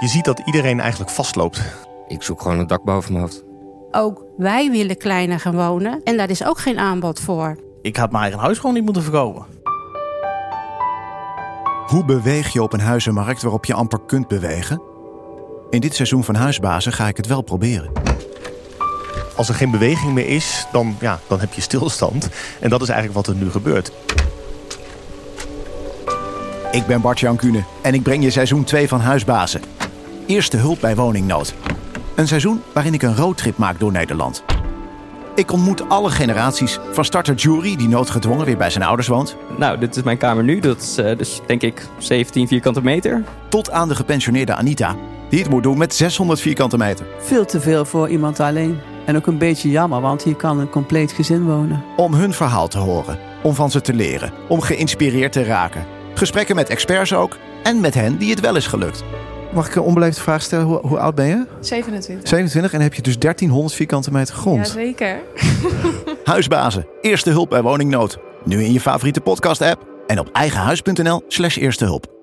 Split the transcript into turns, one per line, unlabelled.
Je ziet dat iedereen eigenlijk vastloopt.
Ik zoek gewoon een dak boven mijn hoofd.
Ook wij willen kleiner gaan wonen en daar is ook geen aanbod voor.
Ik had mijn eigen huis gewoon niet moeten verkopen.
Hoe beweeg je op een huizenmarkt waarop je amper kunt bewegen? In dit seizoen van Huisbazen ga ik het wel proberen.
Als er geen beweging meer is, dan, ja, dan heb je stilstand. En dat is eigenlijk wat er nu gebeurt.
Ik ben Bart-Jan Kuhne en ik breng je seizoen 2 van Huisbazen. Eerste hulp bij woningnood. Een seizoen waarin ik een roadtrip maak door Nederland. Ik ontmoet alle generaties, van starter Jury, die noodgedwongen weer bij zijn ouders woont...
Nou, dit is mijn kamer nu. Dat is eh, dus denk ik 17 vierkante meter.
tot aan de gepensioneerde Anita, die het moet doen met 600 vierkante meter.
Veel te veel voor iemand alleen. En ook een beetje jammer, want hier kan een compleet gezin wonen.
Om hun verhaal te horen, om van ze te leren, om geïnspireerd te raken. Gesprekken met experts ook en met hen die het wel is gelukt. Mag ik een onbeleefde vraag stellen? Hoe, hoe oud ben je?
27.
27 en heb je dus 1300 vierkante meter grond.
Jazeker.
Huisbazen, eerste hulp bij woningnood. Nu in je favoriete podcast-app en op eigenhuis.nl slash eerste hulp.